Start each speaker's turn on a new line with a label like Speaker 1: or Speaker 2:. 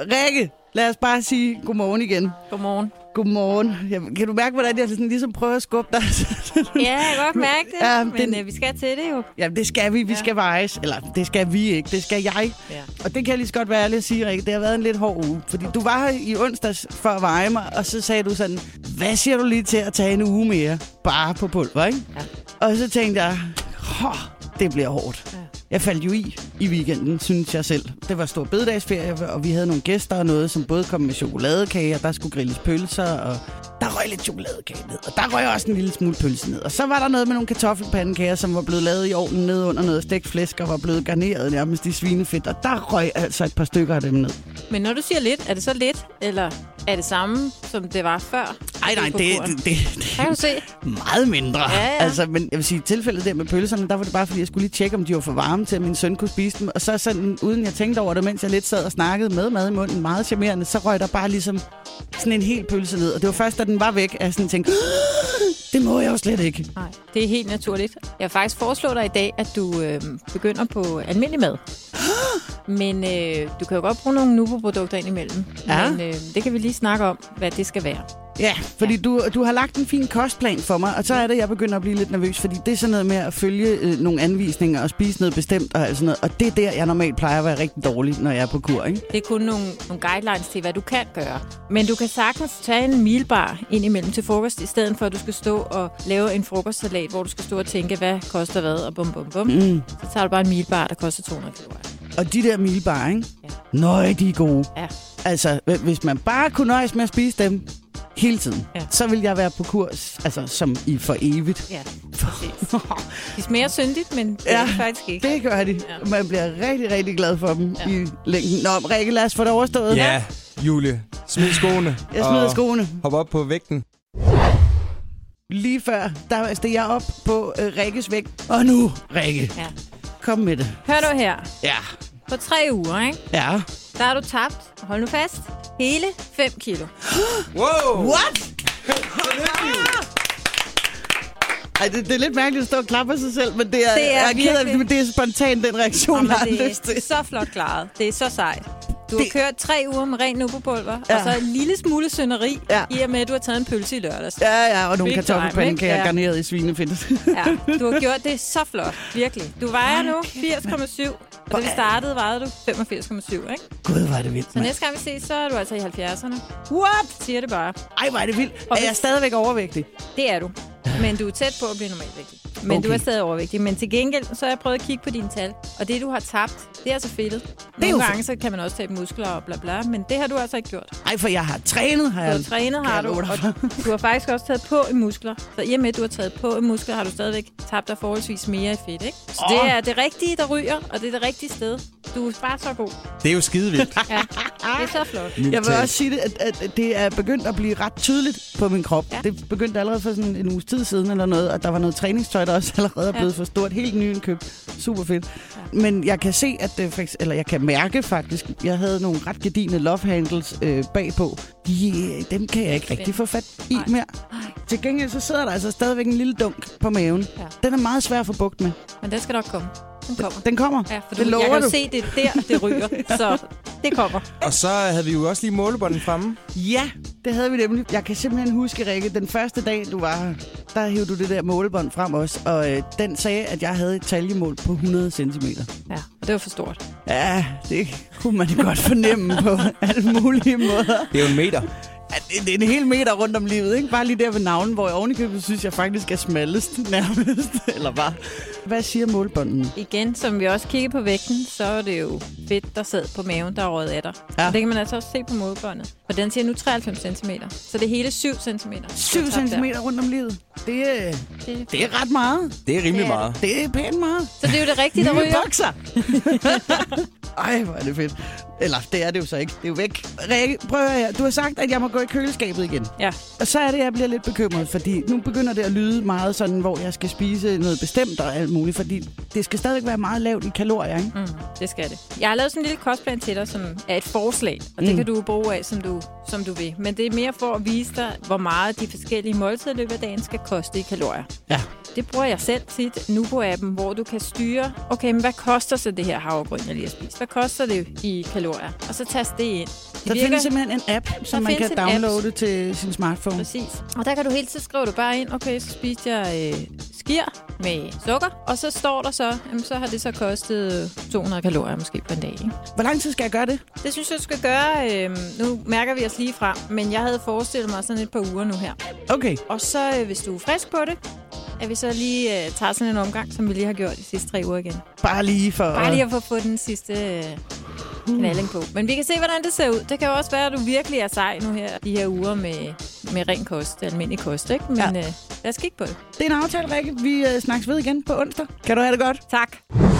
Speaker 1: Rikke, lad os bare sige godmorgen igen.
Speaker 2: Godmorgen.
Speaker 1: Godmorgen. Ja, kan du mærke, hvordan jeg sådan ligesom prøver at skubbe dig?
Speaker 2: Ja, jeg kan godt mærke det,
Speaker 1: Ja,
Speaker 2: ja, men
Speaker 1: den-
Speaker 2: øh, vi skal til det jo.
Speaker 1: Jamen, det skal vi. Vi
Speaker 2: Ja.
Speaker 1: skal vejes. Eller, det skal vi ikke. Det skal jeg.
Speaker 2: Ja.
Speaker 1: Og det kan jeg lige så godt være ærlig at sige, Rikke. Det har været en lidt hård uge. Fordi du var her i onsdags for at veje mig, og så sagde du sådan, hvad siger du lige til at tage en uge mere? Bare på pulver, ikke?
Speaker 2: Ja.
Speaker 1: Og så tænkte jeg, "Hå, det bliver hårdt.
Speaker 2: Ja.
Speaker 1: Jeg faldt jo i i weekenden, synes jeg selv. Det var stor bededagsferie, og vi havde nogle gæster og noget, som både kom med chokoladekage, og der skulle grilles pølser, og der røg lidt chokoladekage ned, og der røg også en lille smule pølse ned. Og så var der noget med nogle kartoffelpandekager, som var blevet lavet i ovnen ned under noget stegt flæsk, og var blevet garneret nærmest i svinefedt, og der røg altså et par stykker af dem ned.
Speaker 2: Men når du siger lidt, er det så lidt, eller er det samme, som det var før?
Speaker 1: Ej, nej,
Speaker 2: på
Speaker 1: det,
Speaker 2: kuren?
Speaker 1: det, det, det,
Speaker 2: Kan du se?
Speaker 1: meget mindre.
Speaker 2: Ja, ja.
Speaker 1: Altså, men jeg vil sige, i tilfældet der med pølserne, der var det bare, fordi jeg skulle lige tjekke, om de var for varme til, at min søn kunne spise dem. Og så sådan, uden jeg tænkte over det, mens jeg lidt sad og snakkede med mad i munden, meget charmerende, så røg der bare ligesom sådan en hel pølse ned. Og det var først, da den var væk, at jeg sådan tænkte, "Åh, det må jeg jo slet ikke.
Speaker 2: Nej, det er helt naturligt. Jeg vil faktisk foreslå dig i dag, at du øh, begynder på almindelig mad. Men øh, du kan jo godt bruge nogle Nubo-produkter indimellem.
Speaker 1: Ja.
Speaker 2: Men øh, det kan vi lige snakke om, hvad det skal være.
Speaker 1: Ja, fordi du, du har lagt en fin kostplan for mig, og så er det, jeg begynder at blive lidt nervøs, fordi det er sådan noget med at følge øh, nogle anvisninger og spise noget bestemt og alt sådan noget. Og det er der, jeg normalt plejer at være rigtig dårlig, når jeg er på kur, ikke?
Speaker 2: Det er kun nogle, nogle guidelines til, hvad du kan gøre. Men du kan sagtens tage en milbar ind imellem til frokost, i stedet for at du skal stå og lave en frokostsalat, hvor du skal stå og tænke, hvad koster hvad, og bum bum bum.
Speaker 1: Mm.
Speaker 2: Så tager du bare en milbar, der koster 200 kalorier.
Speaker 1: Og de der milbar, ikke?
Speaker 2: Ja.
Speaker 1: Nøj, de er gode.
Speaker 2: Ja.
Speaker 1: Altså, hv- hvis man bare kunne nøjes med at spise dem hele tiden, ja.
Speaker 2: Ja.
Speaker 1: så vil jeg være på kurs, altså som i for evigt.
Speaker 2: Ja, præcis. De smager syndigt, men det
Speaker 1: Ja.
Speaker 2: er det faktisk ikke.
Speaker 1: Det gør de. Ja.
Speaker 2: Ja.
Speaker 1: Man bliver rigtig, rigtig glad for dem ja.
Speaker 2: Ja.
Speaker 1: i længden. Nå, Rikke, lad os få det overstået.
Speaker 3: Ja, Julie. Smid skoene.
Speaker 1: Jeg smider
Speaker 3: og
Speaker 1: skoene.
Speaker 3: Hop op på vægten.
Speaker 1: Lige før, der steg jeg op på øh, Rikkes vægt. Og nu, Rikke,
Speaker 2: Ja.
Speaker 1: kom med det.
Speaker 2: Hør du her.
Speaker 1: Ja.
Speaker 2: På tre uger, ikke?
Speaker 1: Ja.
Speaker 2: der har du tabt, hold nu fast, hele 5 kilo.
Speaker 3: Wow!
Speaker 1: What? Ej, det, det er lidt mærkeligt at stå og klappe af sig selv, men det er,
Speaker 2: Det er
Speaker 1: jeg ked af det,
Speaker 2: virkelig-
Speaker 1: men det er spontant den reaktion,
Speaker 2: Jamen,
Speaker 1: jeg har
Speaker 2: det
Speaker 1: lyst til.
Speaker 2: er så flot klaret. Det er så sejt. Du
Speaker 1: Det-
Speaker 2: har kørt tre uger med ren nubopulver,
Speaker 1: Ja.
Speaker 2: ja. og så en lille smule sønderi,
Speaker 1: Ja.
Speaker 2: ja. i og med, at du har taget en pølse i lørdags. Ja.
Speaker 1: Ja, ja, og nogle
Speaker 2: Big time,
Speaker 1: kartoffelpande
Speaker 2: ikke?
Speaker 1: kan jeg
Speaker 2: Ja.
Speaker 1: garneret i svinefedt.
Speaker 2: Ja. Du har gjort det så flot, virkelig. Du vejer nu 80,7, og da vi
Speaker 1: er-
Speaker 2: startede, vejede du 85,7, ikke?
Speaker 1: Gud, var det vildt,
Speaker 2: Så
Speaker 1: mand.
Speaker 2: næste gang vi ses, så er du altså i 70'erne.
Speaker 1: What?
Speaker 2: Siger det bare.
Speaker 1: Ej, var det vildt.
Speaker 2: Og
Speaker 1: Er jeg
Speaker 2: hvis-
Speaker 1: stadigvæk overvægtig?
Speaker 2: Det er du. Men du er tæt på at blive normalvægtig. Men okay.
Speaker 1: Okay.
Speaker 2: du er stadig overvægtig. Men til gengæld, så har jeg prøvet at kigge på dine tal. Og det, du har tabt, det er altså fedtet.
Speaker 1: er jo
Speaker 2: Nogle gange,
Speaker 1: fedt.
Speaker 2: så kan man også tabe muskler og bla bla. Men det har du altså ikke gjort. Du
Speaker 1: Ej, for jeg har trænet, har
Speaker 2: har
Speaker 1: jeg.
Speaker 2: trænet,
Speaker 1: kan
Speaker 2: har
Speaker 1: jeg
Speaker 2: du.
Speaker 1: love dig
Speaker 2: Og
Speaker 1: for.
Speaker 2: du har faktisk også taget på i muskler. Så i og med, at du har taget på i muskler, har du stadigvæk tabt dig forholdsvis mere i fedt. Ikke? Så
Speaker 1: Åh.
Speaker 2: det er det rigtige, der ryger, og det er det rigtige sted. Du er bare så god.
Speaker 3: Det er jo skidevildt.
Speaker 2: Ja. Det er så flot.
Speaker 3: Mildt
Speaker 1: Jeg vil
Speaker 3: talt.
Speaker 1: også sige, det, at, at det er begyndt at blive ret tydeligt på min krop. Ja.
Speaker 2: Ja.
Speaker 1: Det begyndte allerede for sådan en uges tid siden eller noget, og der var noget træningstøj, der også allerede er
Speaker 2: Ja.
Speaker 1: blevet for stort. Helt nyindkøbt. Super fedt. Ja.
Speaker 2: Ja.
Speaker 1: Men jeg kan se, at det for eksempel, eller jeg kan mærke faktisk, jeg havde nogle ret gedine love handles øh, bagpå. De, øh, dem kan jeg ikke
Speaker 2: Fedt.
Speaker 1: rigtig få fat i
Speaker 2: Nej.
Speaker 1: mere.
Speaker 2: Nej.
Speaker 1: Til gengæld så sidder der altså stadigvæk en lille dunk på maven. Ja.
Speaker 2: Ja.
Speaker 1: Den er meget svær at få bugt med.
Speaker 2: Men den skal nok komme. Den kommer.
Speaker 1: Den kommer.
Speaker 2: Ja, for du,
Speaker 1: det lover
Speaker 2: jeg kan
Speaker 1: du.
Speaker 2: jo se, det er der, det ryger. Så det kommer.
Speaker 3: Og så havde vi jo også lige målebånden fremme.
Speaker 1: Ja, det havde vi nemlig. Jeg kan simpelthen huske, Rikke, den første dag, du var her, der hævde du det der målebånd frem også, og øh, den sagde, at jeg havde et taljemål på 100 cm.
Speaker 2: Ja, og det var for stort.
Speaker 1: Ja, det kunne man godt fornemme på alle mulige måder.
Speaker 3: Det er jo en meter.
Speaker 1: Ja, det, det er en hel meter rundt om livet, ikke? Bare lige der ved navnen, hvor jeg ovenikøbet synes, jeg faktisk er smallest nærmest, eller bare. Hvad siger målebånden?
Speaker 2: Igen, som vi også kiggede på vægten, så er det jo fedt, der sad på maven, der er røget af dig.
Speaker 1: Ja.
Speaker 2: Ja. Og det kan man altså også se på modbåndet. Og den siger nu 93 cm. Så det er hele 7 cm.
Speaker 1: 7 cm rundt om livet. Det, øh,
Speaker 2: Det.
Speaker 1: det er ret meget.
Speaker 3: Det er rimelig
Speaker 2: Det er
Speaker 3: meget.
Speaker 1: Det er pænt meget.
Speaker 2: Så det er jo det rigtige, der
Speaker 1: Nye
Speaker 2: ryger.
Speaker 1: bukser! Ej, hvor er det fedt. Eller, det er det jo så ikke. Det er jo væk. Rikke, prøv at høre her. Du har sagt, at jeg må gå i køleskabet igen.
Speaker 2: Ja,
Speaker 1: Og så er det, jeg bliver lidt bekymret, fordi nu begynder det at lyde meget sådan, hvor jeg skal spise noget bestemt og alt muligt, fordi det skal stadigvæk være meget lavt i kalorier, ikke?
Speaker 2: mm, det skal det. Jeg har lavet sådan en lille kostplan til dig, som er et forslag, og det
Speaker 1: Mm.
Speaker 2: kan du bruge af, som du, som du vil. Men det er mere for at vise dig, hvor meget de forskellige måltider i løbet af dagen skal koste i kalorier.
Speaker 1: Ja.
Speaker 2: Det bruger jeg selv tit, Nubo-appen, hvor du kan styre, okay, men hvad koster så det her havregryn, jeg lige har spist? Hvad koster det i kalorier? Og så taster det ind. Det
Speaker 1: Der findes simpelthen en app, som man
Speaker 2: findes
Speaker 1: kan
Speaker 2: en app.
Speaker 1: downloade til sin smartphone.
Speaker 2: Præcis. Og der kan du hele tiden skrive du bare ind, okay, så spiste jeg øh, skir med sukker, og så står der så, jamen, så har det så kostet øh, 200 kalorier måske på en dag. Ikke?
Speaker 1: Hvor lang tid skal jeg gøre det?
Speaker 2: Det synes jeg, du skal gøre. Øh, nu mærker vi os lige frem, men jeg havde forestillet mig sådan et par uger nu her.
Speaker 1: Okay.
Speaker 2: Og så, øh, hvis du er frisk på det, at vi så lige øh, tager sådan en omgang, som vi lige har gjort de sidste tre uger igen.
Speaker 1: Bare lige for...
Speaker 2: Bare lige at få få den sidste øh, knalding på. Men vi kan se, hvordan det ser ud. Det kan jo også være, at du virkelig er sej nu her, de her uger med, med ren kost, almindelig kost, ikke? Men
Speaker 1: Ja.
Speaker 2: ja. øh, lad os kigge på det.
Speaker 1: Det er en aftale, Rikke. Vi øh, snakkes ved igen på onsdag. Kan du have det godt?
Speaker 2: Tak.